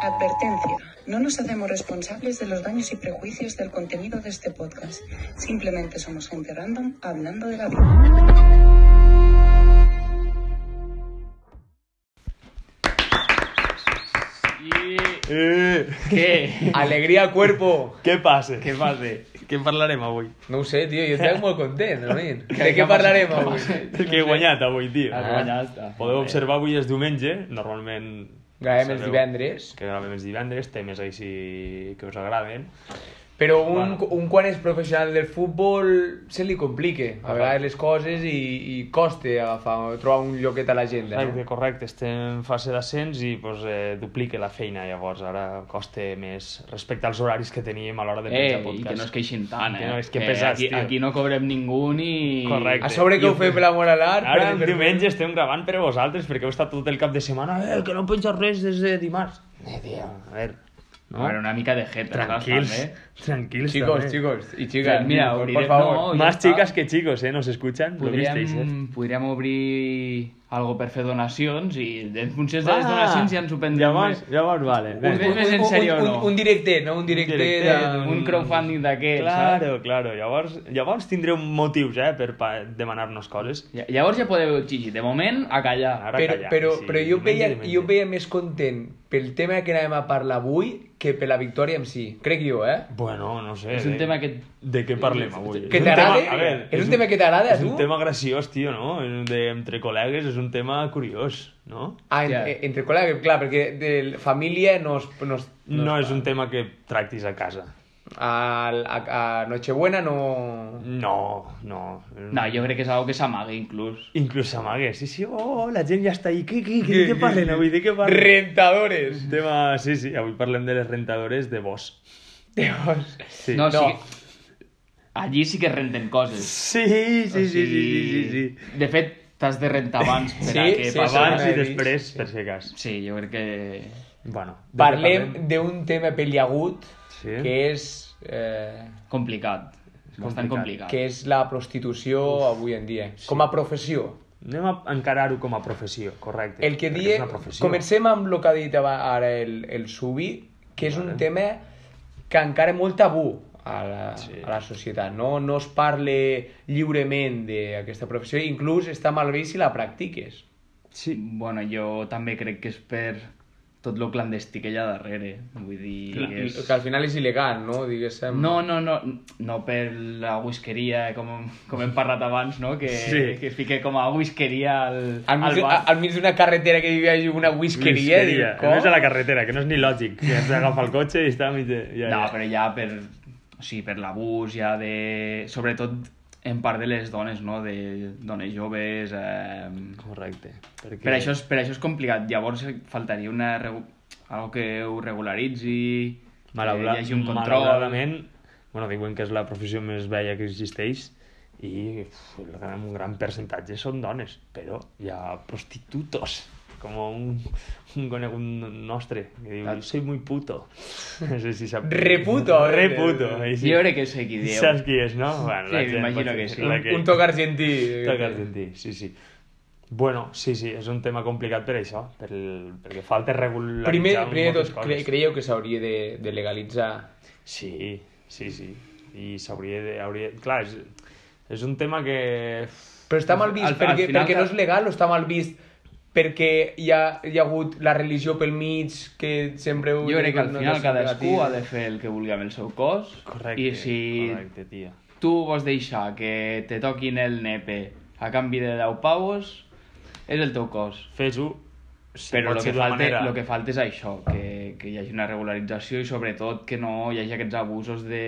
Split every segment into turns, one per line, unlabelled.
Advertencia. No nos hacemos responsables de los daños y prejuicios del contenido de este podcast. Simplemente somos gente random hablando de la
I-
Eh,
Què?
Alegria, cuerpo!
què passa?
Què fas bé? Què en parlarem avui?
No ho sé, tio, jo estic molt content, Ronin.
Què-
De
què
què
ha
parlarem
passat?
avui?
Què ha passat?
El que he guanyat avui, tio.
Has
Ah.
guanyat. Ah,
Podeu
bé.
observar avui és diumenge, normalment...
Gravem els
sabeu
divendres.
Que gravem els divendres, temes així que us agraden.
Però un,
Bueno.
un quan és professional del futbol se li complique. A
Ah.
vegades les coses i, i costa agafar, trobar un lloquet a eh? l'agenda.
Correcte,
No?
correcte, estem en fase d'ascens i pues, eh, duplica la feina llavors, ara costa més respecte als horaris que teníem a l'hora de
Eh,
penjar
i
podcast.
que no es queixin tant, eh?
Que no, és que pesats,
aquí,
tio.
aquí no cobrem ningú ni... Ah,
Correcte.
A sobre que
I-
ho fem per l'amor a l'art.
Ara,
per-
en
per-
diumenge, estem gravant per a vosaltres, perquè heu estat tot el cap de setmana eh, que no he penjat res des de dimarts. Eh, tio, a veure...
No? A veure, una mica de jeta,
Tranquils,
saps,
tranquils.
Chicos,
també.
chicos y chicas,
Mira,
mira, por,
obriré-
favor.
no,
Más
ya está.
chicas que chicos, ¿eh? Nos escuchan. Lo visteis, ¿eh?
Oh, Podríem, podríem obrir algo per fer donacions i en funció de
Ah,
les donacions ja ens ho prendrem
Llavors,
més.
llavors, vale.
Un
venga.
mes més en sèrio,
un,
no?
un directe, no? Un directe,
directe,
de...
Un crowdfunding d'aquests, saps?
Claro, claro. Llavors, llavors tindreu motius, eh, per pa- demanar-nos coses.
Lla- Llavors ja podeu exigir. De moment, a callar.
Ara
Però,
callar,
però,
sí,
però jo,
diumenge,
veia,
diumenge.
jo veia més content pel tema que anàvem a parlar avui que per la victòria en si, crec jo, eh?
Bueno, no sé.
És un
de-
tema que-
De què parlem avui?
Que
És un
t'agrada?
tema- a veure,
És un tema que t'agrada,
És un
tu?
tema graciós, tio, no? És un De, entre col·legues és un tema curiós, no?
Ah, en,
Ja.
eh, entre col·legues, clar, perquè de la família no es... No, es,
No,
es-
és un tema que tractis a casa.
A, a, a Nochebuena no...
No, no.
No, jo crec que és algo que s'amaga, inclús.
Inclús s'amague. Sí, sí, oh, la gent ja està ahí. Què, què, què, què parlen avui? De què parlen?
Rentadores!
Un tema... Sí, sí, avui parlem de les rentadores de bosc.
Dios.
Sí.
No,
No.
Sí que... Allí sí que renten coses.
Sí, sí, sí,
O
sí, sí,
sigui,
sí, sí.
De fet, t'has de rentar abans per a
Sí,
que
sí,
passi.
Abans
sí.
i
sí.
després, per si cas.
Sí, jo crec que...
Bueno, de què
Parlem d'un tema peliagut
Sí.
que és... Eh,
Complicat. Bastant complicat.
que és la prostitució avui en dia, com a professió.
Anem a encarar-ho com a professió, correcte.
El que
perquè
die...
És una professió.
Comencem amb el que ha dit aba- ara el, el Subi, que és un tema que encara és molt tabú a la,
Sí.
a la societat. No, no es parle lliurement d'aquesta professió, inclús està malbé si la practiques.
Sí. Bueno, jo també crec que és per tot lo clandestí que hi ha darrere. Vull dir... És...
Que al final és il·legal, no? Diguéssim.
No, no, no, no per la whiskeria, com, com hem parlat abans, no? Que,
Sí.
que fique com a whiskeria al,
Al mig,
bar.
al mig d'una carretera que hi havia una whiskeria.
Whiskeria.
dic,
A més a
com?
la carretera, que no és ni lògic. Que has d'agafar el cotxe i està mig de... Ja,
No,
ja.
però ja per... O sigui, per l'abús ja de... Sobretot en part de les dones, no? De dones joves... Eh...
Correcte. Perquè...
Per, això és, per això és complicat. Llavors eh, faltaria una... regu- Algo que ho regularitzi...
Malaura...
Que hi hagi un control...
Malauradament, bueno, diuen que és la professió més vella que existeix i uf, el gran, un gran percentatge són dones, però hi ha prostitutos, com un, un conegut nostre, que diu, soy muy puto. No sé si sap...
Reputo, eh?
Reputo. ahí sí.
Jo crec que sé qui diu.
Saps qui és, no? Bueno, la
Sí,
gent
m'imagino
pot-
que sí.
la
Un toc argentí.
Toc argentí, sí, sí. Bueno, sí, sí, és un tema complicat per això, per el... perquè falta regularitzar
Primer, primer de
moltes
tot,
coses.
cre creieu que s'hauria de, de legalitzar
Sí, sí, sí. I s'hauria de... Hauria... Clar, és, és un tema que...
Però està mal vist
Al- al
perquè,
final
perquè
ca-
no és legal o està mal vist perquè hi ha, hi ha hagut la religió pel mig que sempre... ho-
Jo crec que al
no- no
final
sempre
cadascú
ha
ha
dit.
de fer el que vulgui amb el seu cos.
Correcte,
I si
correcte, tia.
tu vols deixar que te toquin el nepe a canvi de 10 pavos, és el teu cos.
Fes-ho, si
Però
pot
el
ser
que,
d'una
falta,
manera-
lo que falta és això, que, que hi hagi una regularització i sobretot que no hi hagi aquests abusos de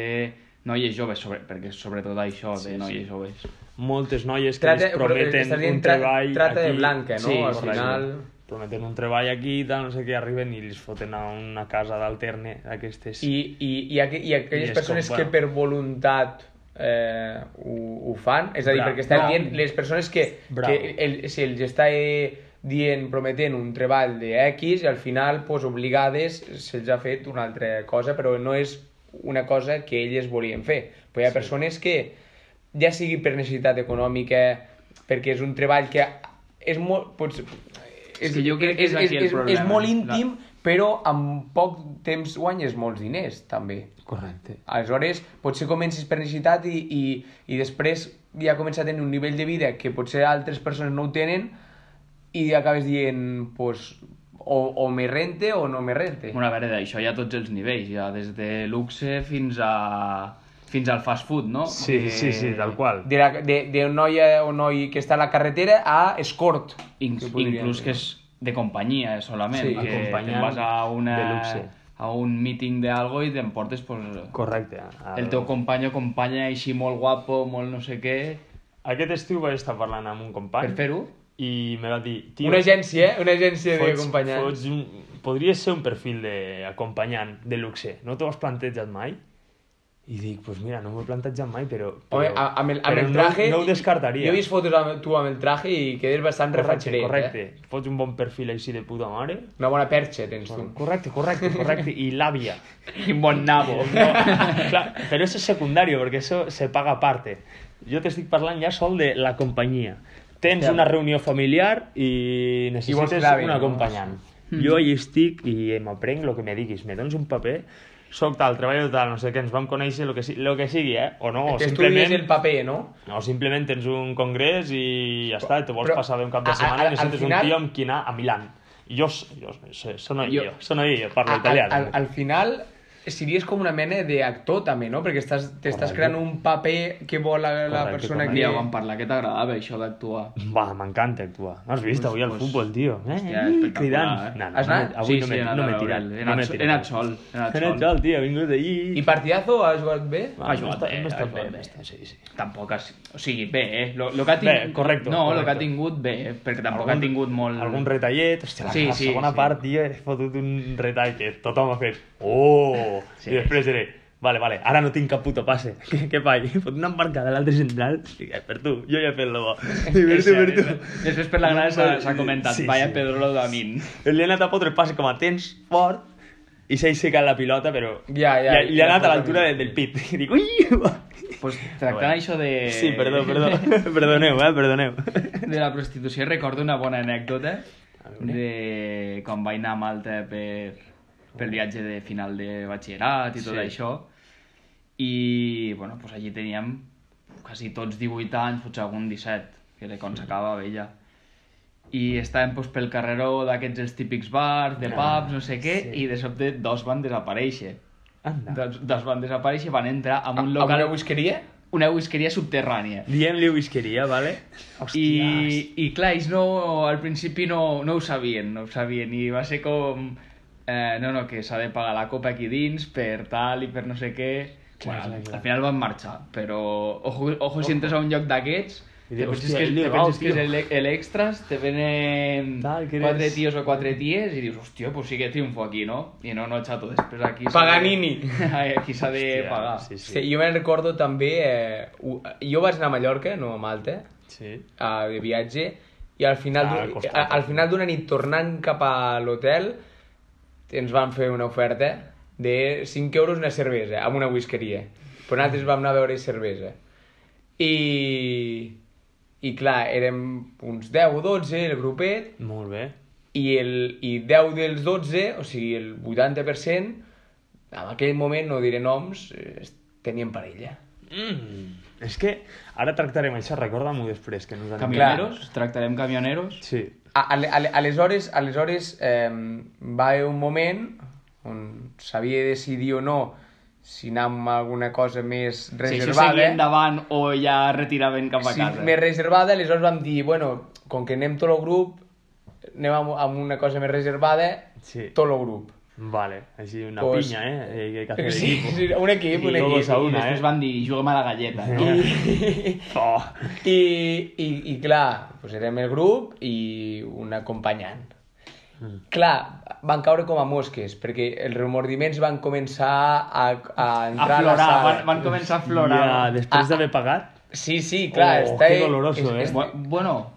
noies joves, sobre, perquè és sobretot això de noies joves.
moltes noies que
Trata-
les
però
prometen
estàs dient
un
tra-
treball
trata
aquí...
de blanca, no?
Sí,
al
correcte.
final...
Prometen un treball aquí i tal, no sé què, arriben i els foten a una casa d'alterne, aquestes...
I, i, i, aqu i
I és
aquelles
com,
persones que
bueno.
per voluntat eh, ho, ho fan, és a dir,
Bravo.
perquè estan
No.
dient les persones que, que
Bravo.
el, si els està eh, dient, prometent un treball de X i al final, pues, obligades, se'ls ha fet una altra cosa, però no és una cosa que elles volien fer. Però hi ha sí. persones que, ja sigui per necessitat econòmica, perquè és un treball que és molt... Pots,
És que jo crec que és aquí el
és, és
problema. eh?
molt íntim, però amb poc temps guanyes molts diners, també.
Correcte.
Aleshores, potser comencis per necessitat i, i, i després ja comença a tenir un nivell de vida que potser altres persones no ho tenen i acabes dient, pues, o, o me rente o no me rente.
Bueno, a veure, d'això hi ha tots els nivells, ja des de luxe fins a... fins al fast food, no?
Sí, sí, sí, tal qual.
De, la, de, de un noia o noi que està a la carretera a escort.
In-
que podríem
inclús
dir.
que és de companyia eh, solament,
Sí.
que
Acompanyant
te'n vas a, una,
de luxe.
a un meeting d'algo i t'emportes pues,
Correcte. El...
el teu company o companya així molt guapo, molt no sé què,
Aquest estiu vaig estar parlant amb un company
per fer-ho.
i me va dir... "Tio,
Una agència, eh? Una agència
fots-
d'acompanyants.
fots un... Podries ser un perfil d'acompanyant de luxe. No t'ho has plantejat mai? I dic, pues mira, no m'ho he plantejat mai, però... però
Home, a- amb el, amb
però
el traje...
No, no ho descartaria.
Jo he vist fotos amb tu amb el traje i quedes bastant
Correcte,
refatxeret,
correcte.
eh?
Eh? Fots un bon perfil així de puta mare.
Una bona perxa tens tu.
Correcte, correcte, correcte. I l'àvia.
I un bon nabo.
No, clar, però eso es secundario, porque eso se paga aparte. Jo t'estic parlant ja sol de la companyia. Tens
Hòstia.
una reunió familiar i
vols
necessites
quedar bé,
un
no? Mm.
acompanyant. Jo hi estic i m'aprenc el que me diguis. Me dones un paper, soc tal, treballo tal, no sé què, ens vam conèixer, el que, sigui, lo que sigui, eh? O no, o
T'estudies
simplement...
el paper, no?
O simplement tens un congrés i ja està, i te vols
Però-
passar bé un cap de
a- a-
setmana
al
i necessites
final-
un tio amb qui anar a Milán. Jo, s- jo, s- sono
Jo-
io, sono io, parlo
A-
italià.
Al, al, al final series com una mena d'actor també, no? Perquè estàs, t'estàs
Correcte.
creant un paper que vol la, la
Correcte,
persona
correcte.
Mira,
que...
vam parlar que t'agradava això d'actuar.
Va, m'encanta actuar. No has vist
Pues-
avui el
pues-
futbol, tio? Eh,
Hòstia,
eh,
espectacular, eh?
cridant. No, no,
Has
no,
anat?
avui
Sí,
no
sí,
m'he
he anat
no
a
m'he
veure'l.
tirat.
He
no
anat
m'he
sol- he
tirat.
anat sol, he anat
He anat
sol.
sol, tio, ha vingut d'allí.
I partidazo ha jugat bé?
Va,
Ha jugat
no està-
bé,
No
ha
està
jugat
bé,
bé.
no està, sí, sí.
Tampoc ha... si- O sigui, bé, eh? Lo, lo que ha
Bé,
tingut...
correcte,
No, el
correcte.
que ha tingut bé, eh? perquè tampoc ha
Algun-
tingut molt...
Algun retallet, hòstia, la,
Sí,
la
sí,
segona
sí.
part, tio, he fotut un retall que tothom ha fet, oh,
Sí.
i després diré, vale, vale, ara no tinc cap puto passe, que, que pai, fot una embarcada a l'altre central, i, eh, per tu, jo ja he fet lo bo, I per tu, per tu.
eh, Després per la grada s'ha- s'ha comentat,
Sí,
vaya
sí.
Pedro lo da min.
Li ha anat a fotre el passe com a tens fort, i s'ha aixecat la pilota, però
Ja, ja,
li,
i
li ha
la
anat a
fot
l'altura
també.
de, del pit. I dic, ui! va.
Pues tractant
Bueno.
això de...
Sí, perdó, perdó. perdoneu, eh, perdoneu.
De la prostitució recordo una bona anècdota de quan vaig anar a Malta per, pel viatge de final de batxillerat i tot
Sí.
això. I, bueno, pues allí teníem quasi tots 18 anys, potser algun 17, que era quan s'acabava ella. I estàvem pues, pel carreró d'aquests els típics bars, de
Ah,
pubs, no sé què,
sí.
i de sobte dos van desaparèixer.
Anda.
Dos, dos van desaparèixer, van entrar en un
Amb
local,
una whiskeria?
una whiskeria subterrània.
Diem-li whiskeria, vale?
I, I clar, ells no, al principi no, no ho sabien, no ho sabien, i va ser com... Eh, no, no, que s'ha de pagar la copa aquí dins per tal i per no sé què...
Clar,
bueno,
clar, clar.
Al final van marxar, però ojo, ojo si entres a un lloc d'aquests,
I
te
dius,
penses
"Hòstia,
que,
li
te
he
penses
robat,
que és
tio."
el- el extras, te venen
Tal, que
quatre
eres-
tios o quatre ties i dius, hòstia, pues sí que triunfo aquí, no? I no, no, xato, després aquí... s'ha de-
Paganini.
aquí s'ha de pagar.
Sí,
Sí,
sí.
jo me'n recordo també... Eh, u- jo vaig anar a Mallorca, no a Malta,
sí.
a, de viatge i al final,
Ah,
d'un-
al costat.
a, al final d'una nit tornant cap a l'hotel ens van fer una oferta de 5 euros una cervesa amb una whiskeria però nosaltres vam anar a veure cervesa i, i clar, érem uns 10 o 12 el grupet
Molt bé.
i, el, i 10 dels 12, o sigui, el 80% en aquell moment, no diré noms, eh, tenien parella.
Mm. És que ara tractarem això, recorda-m'ho després, que no ens anem...
Camioneros, tractarem camioneros.
Sí.
A- ale- ale- Aleshores, aleshores eh, va haver un moment on s'havia de decidir o no si anar amb alguna cosa més
Si això seguia
reservada.
endavant o ja retiraven cap a
si
casa. eh.
més reservada, aleshores vam dir, bueno, com que anem tot el grup, anem amb, amb una cosa més reservada,
Sí.
tot el grup.
Vale, així una
Pues-
pinya, eh? eh? Que hace
Sí,
equipo.
sí, un equip,
I
un
luego
equip.
a
I
una,
després
eh?
van dir, juguem a la galleta, no?
I,
Oh.
I, i, i clar, doncs érem el grup i un acompanyant.
Mm.
Clar, van caure com a mosques, perquè els remordiments van començar a, a
A
entrar a, la
florar,
sala.
van, van començar a florar.
Ja, després
Ah.
d'haver pagat...
Sí, sí, clar.
Oh,
està...
que doloroso, eh?
Bu- Bueno,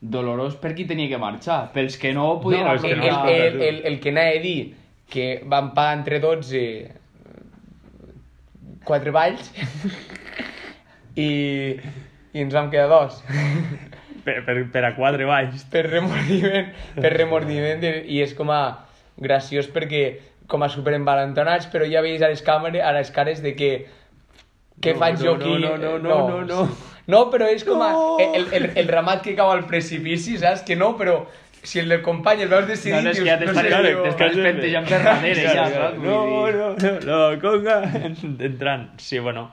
dolorós per qui tenia que marxar, pels que no podien
No, és que
El,
aprofitar.
no
el, el, el, el que anava a dir que van pagar entre 12 eh, quatre balls i, i ens vam quedar dos.
Per, per, per a quatre baix.
per remordiment, per remordiment de, i és com a graciós perquè com a super envalentonats, però ja veies a les càmeres, a les cares de que què
No,
faig
no,
jo
no,
aquí?
no, no,
Eh,
no, no, no.
No, però és com a,
No.
el, el, el ramat que cau al precipici, saps? Que no, però si el del company el veus decidir...
No, no, és que ja
dius,
t'estàs-
sé,
claro,
diu,
t'estàs-
Claro,
pentejant per darrere, ja, saps? Vull
No,
dir-
no, no, la conga entrant. Sí, bueno,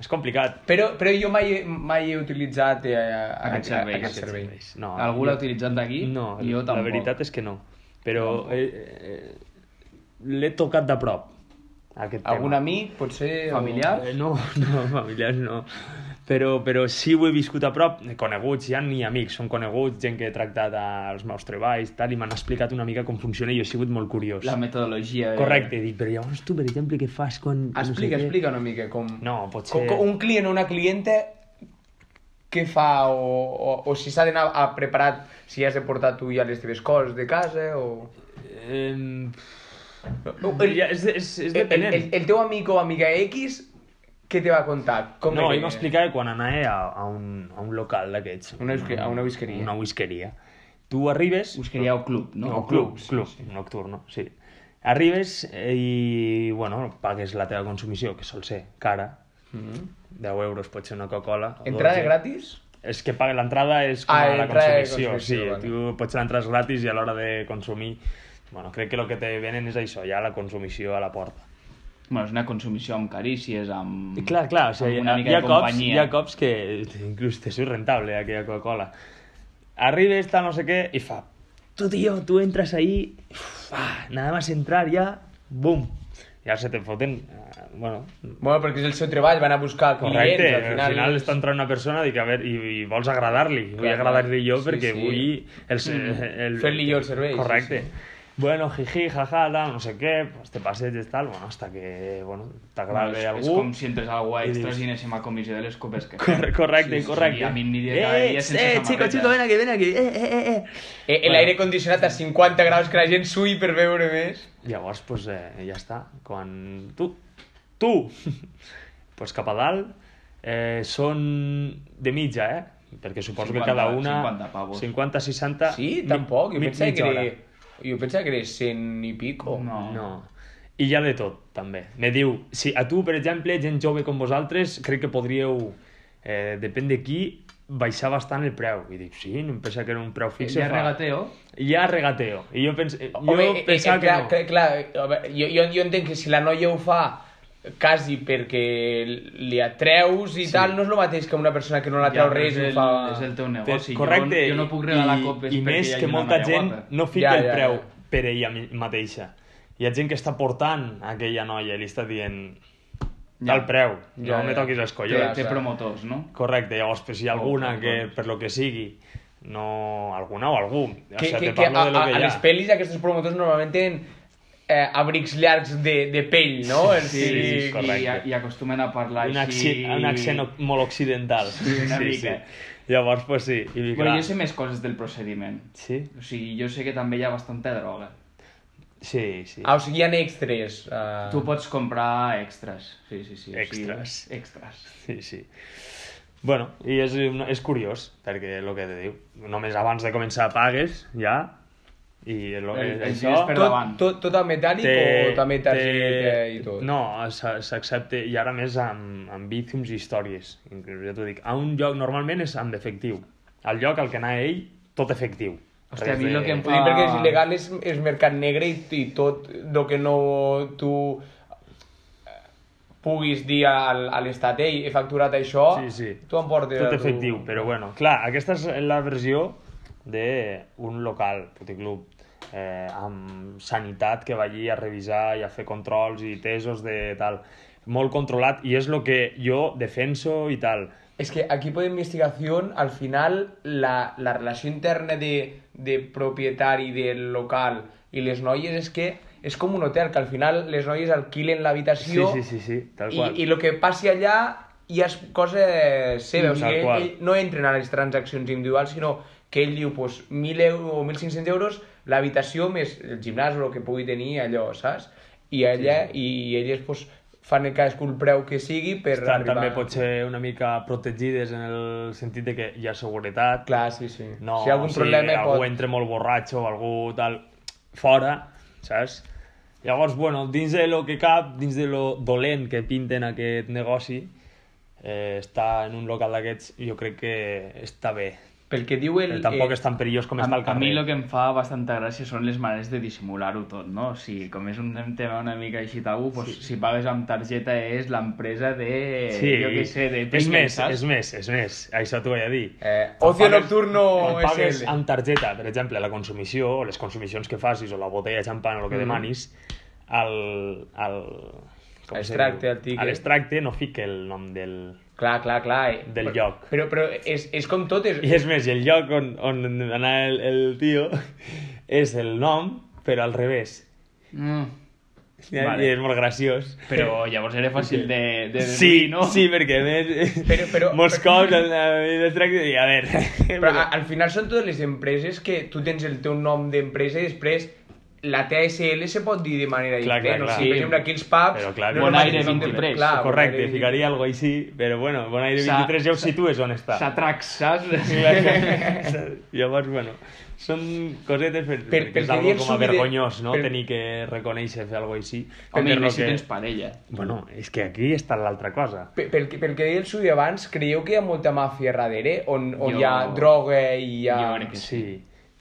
és complicat.
Però, però jo mai, mai he utilitzat eh,
Aquests serveis.
Aquest servei.
Serveis. No,
Algú
jo-
l'ha utilitzat d'aquí?
No,
jo tampoc.
la veritat és que no. Però eh, eh, l'he tocat de prop, aquest tema.
Algun amic, potser... o-
Familiar?
Eh, No, no, familiars no. Però, però sí ho he viscut a prop, eh, coneguts, ja ni amics, són coneguts, gent que he tractat als meus treballs, tal, i m'han explicat una mica com funciona i jo he sigut molt curiós.
La metodologia... eh?
Correcte, he dit, però llavors tu, per exemple, què fas quan... no sé
Explica,
què?"
explica una mica com...
No, potser-
Com, com un client o una clienta què fa o, o, o si s'ha d'anar a preparat si has de portar tu ja les teves coses de casa o...
Em,
No, Oh, el,
ja, és, és, és
el, el,
depenent.
el, el teu amic o amiga X què te va contar? Com
no,
era?
ell m'explicava que quan anava a, a, un, a un local d'aquests...
Una whisky- a una whiskeria.
Una whiskeria. Tu arribes...
Us creieu club, no?
No, club, club, nocturno, sí. Arribes eh, i, bueno, pagues la teva consumició, que sol ser cara.
Mm -hmm.
10 euros pot ser una Coca-Cola. o
Entrada
12.
gratis?
És que paga l'entrada és com
Ah,
a la
l'entrada de
consumició. Sí,
consumició, vale.
tu pots ser l'entrada gratis i a l'hora de consumir... Bueno, crec que el que te venen és això, ja la consumició a la porta.
Bueno, és una consumició amb carícies, amb...
I clar, clar, o
amb
sigui, hi ha,
una mica
hi ha
de
cops,
companyia.
hi ha cops que inclús te surt rentable eh, aquella Coca-Cola. Arribes, tal, no sé què, i fa... Tu, tio, tu entras ahí, uf, ah, nada más entrar ya, bum. Ja se te foten... eh, Bueno,
Bueno, perquè és el seu treball, va anar a buscar clients,
correcte,
al final...
al final està entrant una persona dic, a veure, i, i vols agradar-li, vull
Clar,
agradar-li jo
sí,
perquè
sí.
vull... El,
Mm.
el,
Fer-li jo el servei, sí,
Correcte.
sí.
Bueno, jiji, jaja, tal, no sé què, pues te passeges, tal, bueno, hasta que, bueno, t'agrada
Bueno, és,
algú...
és com si entres a algú a
i
extras
dius-
i anéssim a comissió de les copes que...
Cor- correcte,
Sí, sí,
correcte.
a mi em diria cada
Eh,
dia sense
eh,
samarreta.
chico, chico, ven aquí, ven aquí. Eh, eh, eh, eh.
Eh,
Bueno.
L'aire condicionat a 50 graus que la gent sui per veure més.
Llavors, pues, eh, ja està. Quan tu, tu, pues cap a dalt, eh, són de mitja, eh? Perquè suposo que
50,
cada una...
50 pavos.
50, 60...
Sí,
Ah, mi-
tampoc. Jo
mi-
pensava que
mitja
era...
hora.
Jo pensava que era 100 i pico.
No.
No. I hi ha de tot, també. Me diu, si a tu, per exemple, gent jove com vosaltres, crec que podríeu, eh, depèn de qui, baixar bastant el preu. I dic, sí, no em pensava que era un preu fix.
Hi ha
fa-
regateo,
Hi ha regateo. I jo, pens... jo
Home, eh,
pensava
eh,
que
clar,
no.
clar, clar, a veure, jo, jo, jo entenc que si la noia ho fa quasi perquè li atreus i sí. tal, no és el mateix que una persona que no la
ja
treu
no
res
és,
i ho
el,
fa...
és el teu negoci.
Correcte.
Jo, jo no puc regalar
i,
copes
I
perquè
més
hi hagi
que
una
molta
noia
gent
guapa.
no fica
Ja,
el
ja,
preu
ja.
per ella mi- mateixa. Hi ha gent que està portant a aquella noia i li està dient
Ja.
tal preu, no
Ja,
me
ja.
toquis els
Té,
collons.
té
ja.
promotors, no?
Correcte, llavors, pues, si hi ha alguna
Oh,
que,
doncs.
per lo que sigui, no... alguna o algú, o
Que,
sigui,
que,
te
que a,
parlo de lo
a,
que
a
hi
les
ha.
pel·lis aquests promotors normalment tenen eh, abrics llargs de, de pell, no? O
Sí,
sigui,
sí, sí, correcte.
i, i acostumen a parlar
Un
així...
accent, un accent oc- molt occidental.
Sí, una mica.
Llavors, pues sí. I,
Bueno,
clar,
jo sé més coses del procediment.
Sí,
O sigui, jo sé que també hi ha bastanta droga.
sí, sí.
Ah, o sigui, hi ha extres. Uh...
Tu pots comprar extras. Sí, sí, sí. o sigui,
Extras.
extras.
Sí, sí. Bueno, i és, una- és curiós, perquè el que te diu, només abans de començar pagues, ja, i el,
Eh,
El-
el,
els
això...
diners per
Tot,
davant.
tot, tot a metàl·lic o també targeta i tot?
No, s'a- s'accepta, i ara més amb, amb bíciums i històries, inclús ja t'ho dic, a un lloc normalment és amb efectiu, al lloc al que anava ell, tot efectiu.
Hòstia, a
Res
mi lo
de-
que em
Ho dic perquè és
Ah.
il·legal, és, és mercat negre i, i tot el que no tu eh, puguis dir al, a l'estat, ei, he facturat això,
Sí, sí.
tu em portes...
Tot
a tu...
efectiu, però bueno, clar, aquesta és la versió d'un local, puticlub, eh, amb sanitat que va allí a revisar i a fer controls i tesos de tal, molt controlat, i és el que jo defenso i tal.
Es que equipo de investigación, al final, la, la relació interna de, de propietari del local i les noies és que és com un hotel, que al final les noies alquilen l'habitació
Sí, sí, sí, sí, tal
i,
qual.
i el que passi allà ja és cosa seva. O
Tal
sigui,
qual.
ell, no entren a les transaccions individuals, sinó que ell diu pues, 1.000 euros o 1.500 euros l'habitació més el gimnàs o el que pugui tenir allò, saps? I ella i elles pues, fan cadascú el preu que sigui per
Estan també potser una mica protegides en el sentit de que hi ha seguretat,
Clar, sí, sí.
no,
si hi ha algun
si
problema
algú
pot...
entra molt borratxo o algú tal fora, saps? Llavors, bueno, dins de lo que cap, dins de lo dolent que pinten aquest negoci, eh, estar en un local d'aquests jo crec que està bé.
Pel que diu el...
Però tampoc
eh,
és tan perillós com
A,
està el
a mi
carrer.
el que em fa bastanta gràcia són les maneres de dissimular-ho tot, no? O sigui, com és un tema una mica així tabú, doncs, si pagues amb targeta és l'empresa de... Jo què sé, de...
és
Pringles,
més,
saps?
és més, és més. Això t'ho vaig a dir.
Eh, ocio
Quan pagues-
nocturno
quan pagues
SL.
amb targeta, per exemple, la consumició, o les consumicions que facis, o la botella de xampany, o el que
Mhm.
demanis, el... el com se
Extracte,
diu?
el ticket.
A l'extracte no fica el nom del...
Clar, clar, clar. Eh?
Del
però,
lloc.
Però, però és, és com tot, és...
I és més, i el lloc on, on anà el, el tio és el nom, però al revés.
Mm.
I,
Vale.
i és molt graciós.
Però llavors era fàcil de, de deduir,
Sí,
no?
sí, perquè a més...
Però- però-
molts
però-
cops el, el, tracte... I a veure...
Però ah, a- al final són totes les empreses que tu tens el teu nom d'empresa i després la TSL se pot dir de manera
Clar,
diferent.
clar, clar.
O sigui, per
Sí.
exemple, aquí els pubs...
Però clar,
no
Bon
només
Aire
són de-
23.
clar, Bon
Correcte,
Aire
ficaria algo així, però bueno, Bon Aire
Sa-
23 ja ho situes on està.
S'atracs, saps?
Llavors, bueno, són cosetes per,
Per-
perquè és
perquè
algo
dir
com a
subide-
vergonyós, no?
per-
Tenir que reconèixer fer algo així.
Home, i
Per lo
més si
que-
tens parella.
Bueno, és que aquí està l'altra cosa.
Pe- Pel, que- pel que deia el Sui abans, creieu que hi ha molta màfia darrere? On,
Jo-
on hi ha droga i hi ha...
Jo crec que sí.
Sí.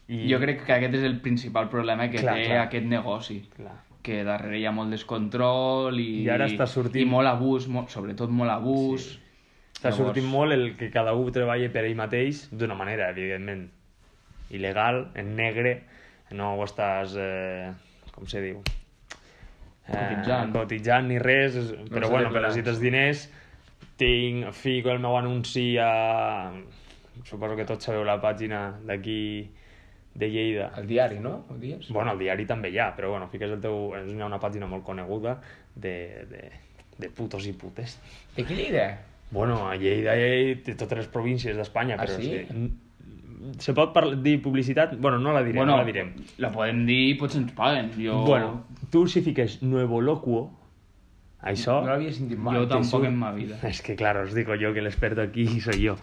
I...
Jo crec que aquest és el principal problema que
Clar,
té
clar.
aquest negoci.
Clar.
Que darrere hi ha molt descontrol i,
I ara està sortint-
i molt abús, molt, sobretot molt abús.
Sí. Està
Llavors-
sortint molt el que cada un treballa per ell mateix d'una manera, evidentment. Il·legal, en negre, no ho estàs... Eh, com se diu?
Cotitzant.
Eh, cotitzant ni res, és- però
se
bueno,
té
que
plans.
necessites diners, tinc, fico el meu anunci a... Suposo que tots sabeu la pàgina d'aquí de Lleida.
El diari, no? Ho dius?
Bueno, el diari també hi ha, però bueno, fiques el teu... és- Hi ha una pàgina molt coneguda de, de, de putos i putes.
De qui Lleida?
Bueno, a Lleida hi ha de totes les províncies d'Espanya,
Ah,
però
sí?
és que... Se pot parlar, dir publicitat? Bueno, no la direm,
Bueno,
no la direm.
la podem dir i potser ens paguen. Jo,
Bueno, tu si fiques Nuevo Locuo, això...
No l'havia sentit mai.
jo
te
tampoc
surt.
en ma vida.
Es que claro, os digo yo que el experto aquí soy yo.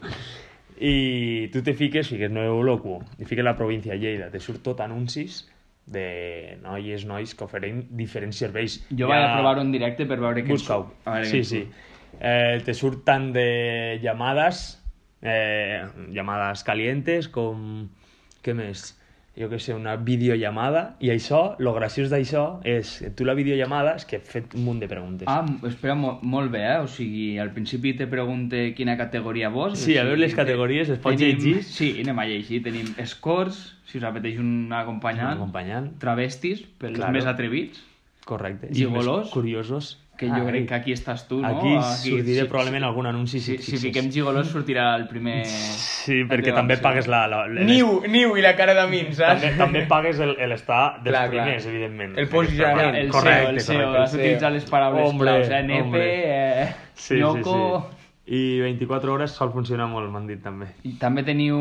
Y tú te fiques, fiques Nuevo Locuo, i fiques la província de Lleida, te surt tot anuncis de noies, nois que oferim diferents serveis.
Jo
Hi
vaig
ha-
a provar-ho en directe per veure què ens
Busca-ho.
surt. A veure què
Sí,
ens
sí.
surt.
Eh, te surtan de llamadas, eh, llamadas calientes, con... què més? Jo que sé, una videollamada. I això, lo graciós d'això és... que Tu la videollamada és que he fet un munt de preguntes.
Ah, espera, mo molt bé, eh? O sigui, al principi te pregunte quina categoria vols.
Sí,
o
a
sigui,
veure
te-
les categories, es pot
tenim-
llegir?
Sí, anem a llegir. Tenim escorts, si us apeteix un acompanyant.
Un acompanyant.
Travestis, per
Claro.
els més atrevits,
Correcte.
gigolos?
més Curiosos.
que jo
Ah,
crec que aquí estàs tu, no?
Aquí sortiré probablement algun anunci, si
Si,
et
si,
fixes.
fiquem gigolos sortirà el primer...
Sí,
la
perquè
teva
també
opció.
pagues la... la, la
Niu, niu i la cara de min,
eh?
saps?
També, també pagues el- el estar dels
Clar, clar.
primers, evidentment.
El posicionament.
El
Correcte,
SEO, el SEO,
correcte.
has utilitzat les paraules
Hombre,
claus, eh? Nepe,
hombre.
eh, Noco...
I 24 hores sol funcionar molt, m'han dit també.
I també teniu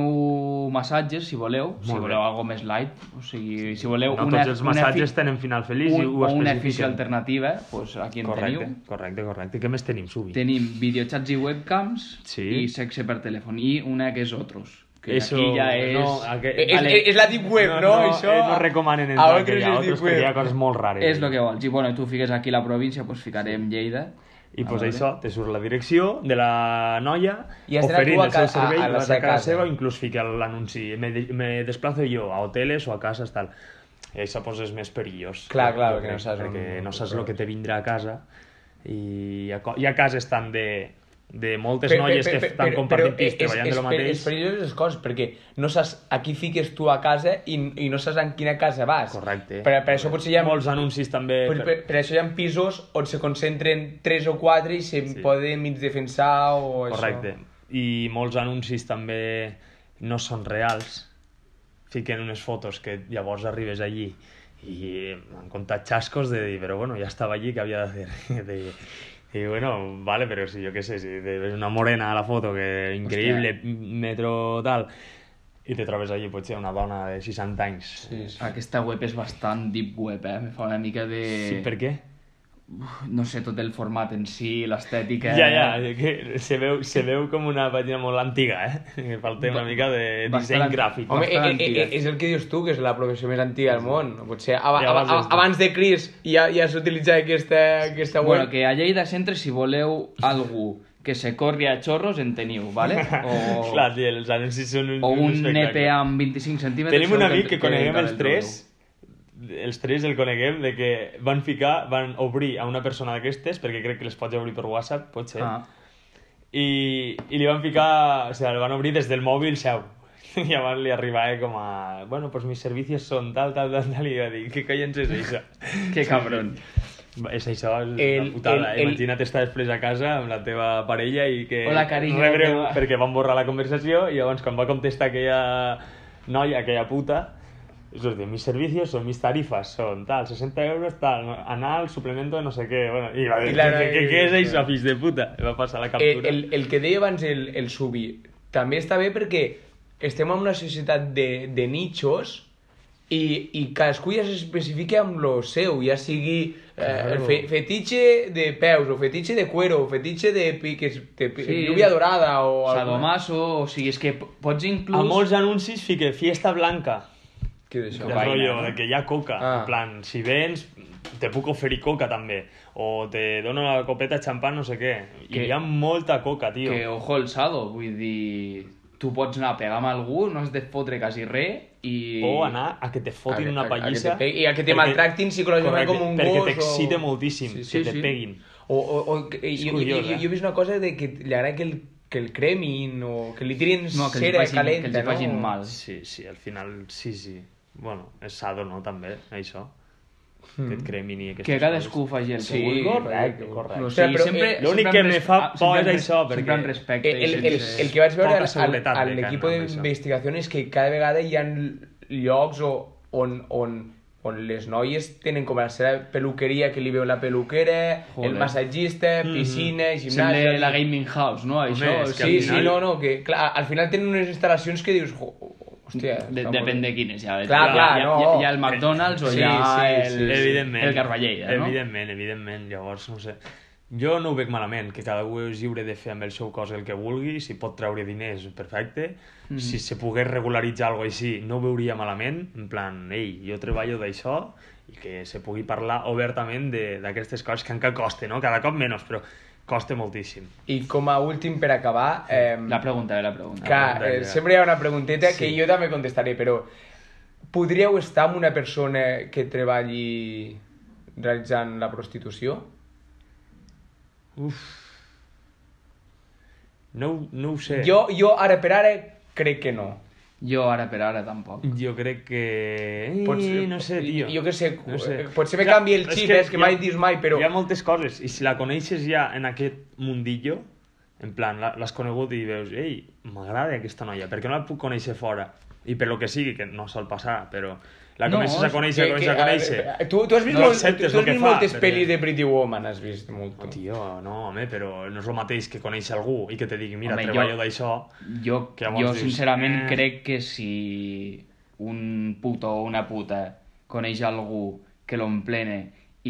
massatges, si voleu, si
Molt bé.
voleu algo més light, o sigui, si voleu
No
una,
tots els
una
massatges
fi-
tenen final feliç i
un,
ho
o una afició
especifiquen.
alternativa, doncs aquí en
Correcte,
teniu.
correcte, correcte. Què més tenim, Subi?
Tenim videochats i webcams
Sí.
i sexe per telèfon i una que és otros, que
Eso-
aquí ja és...
no, aqu-
Eh, És,
Vale.
és, és la deep web, no? Això...
eh, no recomanen
A
entrar,
veure
que hi ha
si és
altres
deep
que hi ha
web.
coses molt rares.
és el que vols. I bueno, tu fiques aquí la província, doncs ficarem Lleida.
I
A
pues
veure.
això, te surt la direcció de la noia,
I has d'anar
oferint
tu a
el seu
ca-
servei,
a- a la
vas
seva
a casa
casa.
seva, inclús fica l'anunci, me, de- me desplazo jo a hoteles o a cases, tal. I això pues, és més perillós.
Clar, clar,
jo
perquè no saps on-
perquè no saps el que te vindrà a casa. I a, co- hi ha cases tant de, de moltes
Per- per-
noies
per-
que
per-
estan
per-
compartint
però
pis
és-
treballant
és-
de lo
per- És
mateix.
perillós les coses, perquè no saps a qui fiques tu a casa i, i no saps en quina casa vas.
Correcte.
Per, per això potser hi ha...
Molts anuncis també.
Per, per, per això hi ha pisos on se concentren 3 o 4 i se
Sí.
poden mig defensar o això.
Correcte. I molts anuncis també no són reals. Fiquen unes fotos que llavors arribes allí i han contat xascos de dir, però bueno, ja estava allí, que havia de fer? De, i bueno, vale, però si jo què sé, si te ves una morena a la foto que increïble, metro tal, i te trobes allí potser una dona de 60 anys.
Sí, sí.
Aquesta web és bastant deep web, eh? Me fa una mica de...
Sí, per què?
no sé, tot el format en si, l'estètica...
Ja, ja, que se veu, se veu com una pàgina molt antiga, eh? Falta una mica de
Bastant-
disseny gràfic.
Home,
Home, eh, eh,
antiga.
eh, és el que dius tu, que és la professió més antiga del món. Potser ab
Ja
ab
abans
ab
de-
abans de Cris ja, ja s'utilitzava aquesta, aquesta web.
Bueno, que a Lleida Centre, si voleu algú que se corri a xorros, en teniu, ¿vale? O,
Clar, tia, els anuncis són un,
o un
espectacle.
nepe amb 25 centímetres...
Tenim un
segur
amic que, coneguem
encara
els
el
tres,
trobeu.
els tres el coneguem, de que van ficar, van obrir a una persona d'aquestes, perquè crec que les pots obrir per WhatsApp, pot ser,
Ah.
i, i li van ficar, o sigui, el van obrir des del mòbil seu. I llavors li arribava com a... Bueno, pues mis servicios son tal, tal, tal, tal, i va dir, que collons és això?
Que cabrón.
Va, És això, és
El-
una putada. eh?
el- el-
Imagina't estar després a casa amb la teva parella i que...
Hola, carinyo,
Rebre,
com va?
perquè van borrar la conversació i llavors quan va contestar aquella noia, aquella puta, us dir, mis servicios son mis tarifas, son tal, 60 euros, tal, anal, suplemento, no sé què, bueno, i va dir,
I la noia-
què, què és això, fills de puta? I va passar la
el,
captura.
Eh, el, el que deia abans el, el subi també està bé perquè estem en una societat de, de nichos i, i cadascú ja s'especifica amb lo seu, ja sigui eh,
Claro.
fe, fetitxe de peus, o fetitxe de cuero, o fetitxe de, piques, de pi,
Sí.
lluvia dorada, o... alguna-
Sadomaso, o sigui, és que p- pots inclús...
A molts anuncis fique fiesta blanca,
Què és això?
del
Cocaïna,
rotllo,
no?
de que hi ha coca.
Ah.
En plan, si vens, te puc oferir coca també. O te dono la copeta de xampà, no sé què.
Que-
I hi ha molta coca, tio.
Que ojo el sado, vull dir... Tu pots anar a pegar amb algú, no has de fotre quasi res i...
O anar a que te fotin
A que- a-
una
a que
pallissa.
te pegui- i a que te
perquè-
maltractin psicològicament
Correcte,
com un
Perquè
gos,
t'excite
o-
moltíssim,
Sí,
sí,
que te
sí.
peguin.
O, o, o que, jo,
curiós,
jo, jo,
eh?
jo he vist una cosa de que li agrada que el, que el cremin o que li tirin
No, que els hi facin-
cera
que els hi
calenta,
facin
no?
mal.
Sí, sí, al final, sí, sí. Bueno, és sado, no, també, això. Que
Hmm.
et cremin i aquestes
Que cadascú faci el que
Sí,
vulgui.
correcte, correcte.
O
O
sigui,
sigui, però,
sempre,
eh,
l'únic
sempre
que
amb
me
res-
fa
ah,
por
sempre
és
amb-
això, perquè-
Sempre amb respecte.
El, el, el,
sense-
el que vaig veure
Poca
al, al,
seguretat
al
de que
equip
anem amb això.
d'investigació és que cada vegada hi ha llocs o, on, on, on les noies tenen com la seva peluqueria que li veu la peluquera,
Joder.
el massatgista, piscina, gimnàsia...
Sembla la gaming house, no? Això,
Home, és que al
Sí,
final-
sí, no, no, que clar, al final tenen unes instal·lacions que dius... "Jo, Hòstia,
De,
està molt
depèn
bé".
de quines, ja.
Clar,
ja,
clar,
ja,
no.
ja, ja el McDonald's o
Sí,
ja
sí,
el,
sí, sí.
Evidentment.
el Garballeira, no?
Evidentment, evidentment. Llavors, no sé. Jo no ho veig malament, que cadascú és lliure de fer amb el seu cos el que vulgui, si pot treure diners, perfecte. Mm -hmm. Si se pogués regularitzar alguna cosa així, no ho veuria malament, en plan, ei, jo treballo d'això, i que se pugui parlar obertament de- d'aquestes coses que encara costa, no? Cada cop menys, però costa moltíssim.
I com a últim per acabar... Eh,
La pregunta, la pregunta.
Clar,
pregunta
eh,
que-
sempre hi ha una pregunteta sí. que
Sí.
jo també contestaré, però podríeu estar amb una persona que treballi realitzant la prostitució?
No, ho- no ho sé.
Jo, jo ara per ara crec que no.
Jo ara per ara tampoc.
Jo crec que... Ei,
Pots-
no sé, tio.
jo què sé,
no sé.
potser me
Clar,
canvi el
és
xip, eh, és que
hi
mai dius mai, però-
Hi ha moltes coses, i si la coneixes ja en aquest mundillo, en plan, la- l'has conegut i veus, ei, m'agrada aquesta noia, perquè no la puc conèixer fora? I per lo que sigui, que no sol passar, però la
No,
comences
és
a conèixer,
Que-
a
que-
conèixer, a conèixer.
eh, Tu, tu has vist,
No
molt,
acceptes
tu
el
has
que
vist
fa,
moltes
perquè-
pel·lis de Pretty Woman, has vist molt.
No, tio, no, home, però no és el mateix que conèixer algú i que te digui, mira,
Home,
home,
jo-
treballo d'això...
Jo,
Que llavors
jo
dius,
sincerament
eh.
crec que si un puto o una puta coneix algú que l'omplene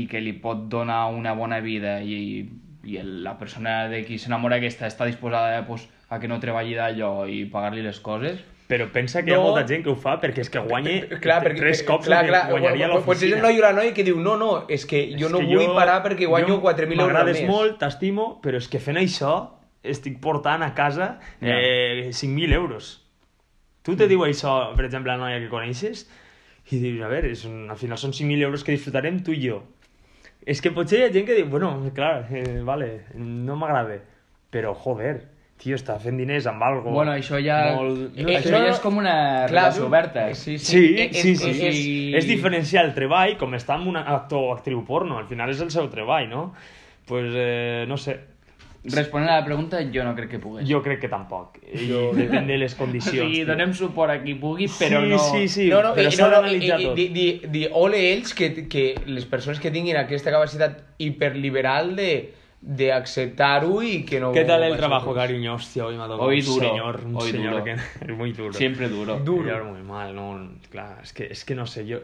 i que li pot donar una bona vida i, i el- la persona de qui s'enamora aquesta està disposada pues, a que no treballi d'allò i pagar-li les coses...
Però pensa que hi ha
No.
molta gent que ho fa perquè és que guanyi
Clar, perquè, eh,
tres cops
clar,
el que
clar,
guanyaria
pot- Potser és
l'oficina.
el noi o la noia que diu, no, no, és que jo
És
no
que
vull parar perquè guanyo
jo-
4.000 euros al mes.
M'agrades molt, t'estimo, però és que fent això estic portant a casa eh, 5.000 euros. Tu
Mm.
te diu això, per exemple, a la noia que coneixes, i dius, a veure, és un, al final són 5.000 euros que disfrutarem tu i jo. És que potser hi ha gent que diu, bueno, clar, eh, vale, no m'agrada, però joder, tio, està fent diners amb algo.
Bueno, això ja,
Molt...
no
Eh,
això
no,
ja
no.
és com una
Clar,
relació oberta.
Sí,
Sí,
Eh, eh,
sí,
eh,
sí.
eh,
sí. És diferenciar el treball com estar amb un actor o actriu porno. Al final és el seu treball, no? pues, eh, no sé.
Responent a la pregunta, jo no crec que pogués.
Jo crec que tampoc. I depèn de les
o
condicions.
sigui,
tio.
Pues- donem suport a qui pugui, però
sí,
no...
Sí, sí,
No, no,
però
eh,
s'ha
no, no, eh,
d'analitzar
eh,
tot.
di, di, di, ole ells que, que les persones que tinguin aquesta capacitat hiperliberal de d'acceptar-ho i que no...
¿Qué tal el
vagi
trabajo,
tot.
cariño? Hostia, hoy me ha tocado
Hoy
un
duro,
señor, un
hoy
señor
duro.
que es muy duro.
Siempre duro.
Duro.
Duro.
muy mal, no, claro, es que, es que no sé, yo...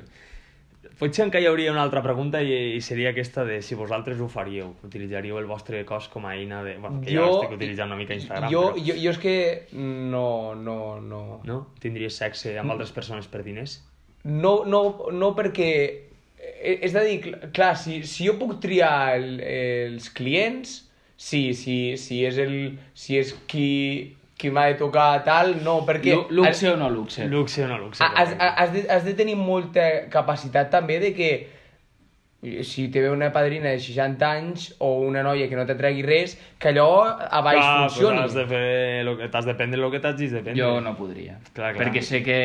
Potser encara hi hauria una altra pregunta i, i seria aquesta de si vosaltres ho faríeu, utilitzaríeu el vostre cos com a eina de... Bueno, que jo... ja estic utilitzant una mica Instagram,
jo,
però...
jo, jo és que no, no, no...
No? Tindries sexe amb altres persones per diners?
No, no, no perquè... eh, És a dir, cl- clar, si, si jo puc triar el, els clients, sí, sí, si és, el, si és qui, qui m'ha de tocar tal, no, perquè...
Lu- Luxe o no luxe?
Luxe o no luxe?
Ah, Has, has, de, has de tenir molta capacitat també de que eh, si te ve una padrina de 60 anys o una noia que no t'atregui res, que allò a baix
Clar, Ah, pues
funcioni.
has de fer... lo que- T'has de prendre el que t'hagis de prendre.
Jo no podria.
Clar, clar.
Perquè sé que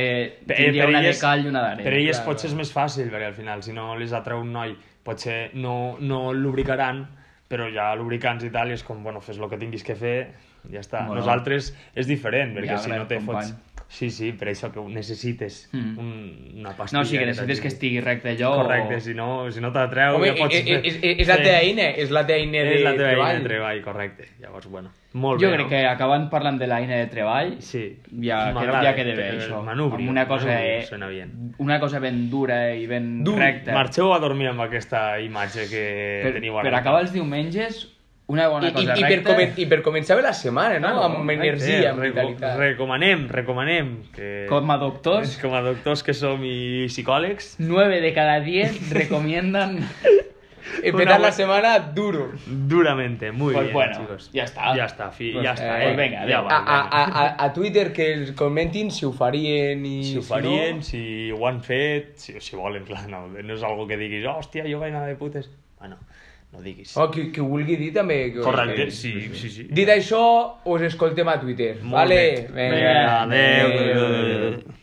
Per-
tindria
per
una de
elles-
cal i una d'arena.
Per elles
clar,
potser és més fàcil, perquè al final, si no les atreu un noi, potser no, no el lubricaran, però ja lubricants i tal, i és com, bueno, fes el que tinguis que fer, ja està.
Bueno.
Nosaltres és diferent, perquè
Viagra,
si no te
company.
fots... Sí, sí, per això que ho necessites
Mm.
un, una pastilla.
No, sí que necessites que
t'hagi-
estigui recte allò. o- eh,
Correcte, si no, si no t'atreu...
Home,
ja pots
és,
fer-
és, és, és la teva
Sí.
eina, és la teva eina de
És la teva
treball.
eina de treball, correcte. Llavors, bueno, molt
Jo
bé,
crec
no?
que acabant parlant de l'eina de treball,
Sí.
ja, que,
M'agrada,
ja queda bé,
però
això.
manubri,
Amb una cosa,
manubri,
eh,
suena bien.
una cosa ben dura i ben
Dur,
recta.
Marxeu a dormir amb aquesta imatge que
per,
teniu ara.
per acabar els diumenges, una
I,
bona
i,
cosa
i, per
recta.
comen, I per començar bé la setmana, no?
Claro,
amb
correcte,
energia, amb
Eh, reco-
vitalitat.
recomanem, recomanem. Que...
Com a doctors,
Com a doctors que som i psicòlegs,
9 de cada 10 recomiendan...
Empezar
Una-
Eh, la setmana duro.
duramente, muy
Pues
bien,
bueno,
chicos.
ya está.
Ya está, fi,
Pues,
ya está.
eh,
eh,
venga,
ja
venga.
va,
A, a,
venga.
a, a, a Twitter que els comentin si ho farien i
si ho farien,
no.
si ho han fet, si, si volen, clar, no, no és algo que diguis, hòstia, jo vaig anar de putes. Bueno, no diguis.
Oh, qui, qui ho vulgui dir també. Que ho
Correcte,
digui.
sí, sí, sí.
Dit això, us escoltem a Twitter.
Molt
vale?
bé. Vinga, adéu. adéu, adéu.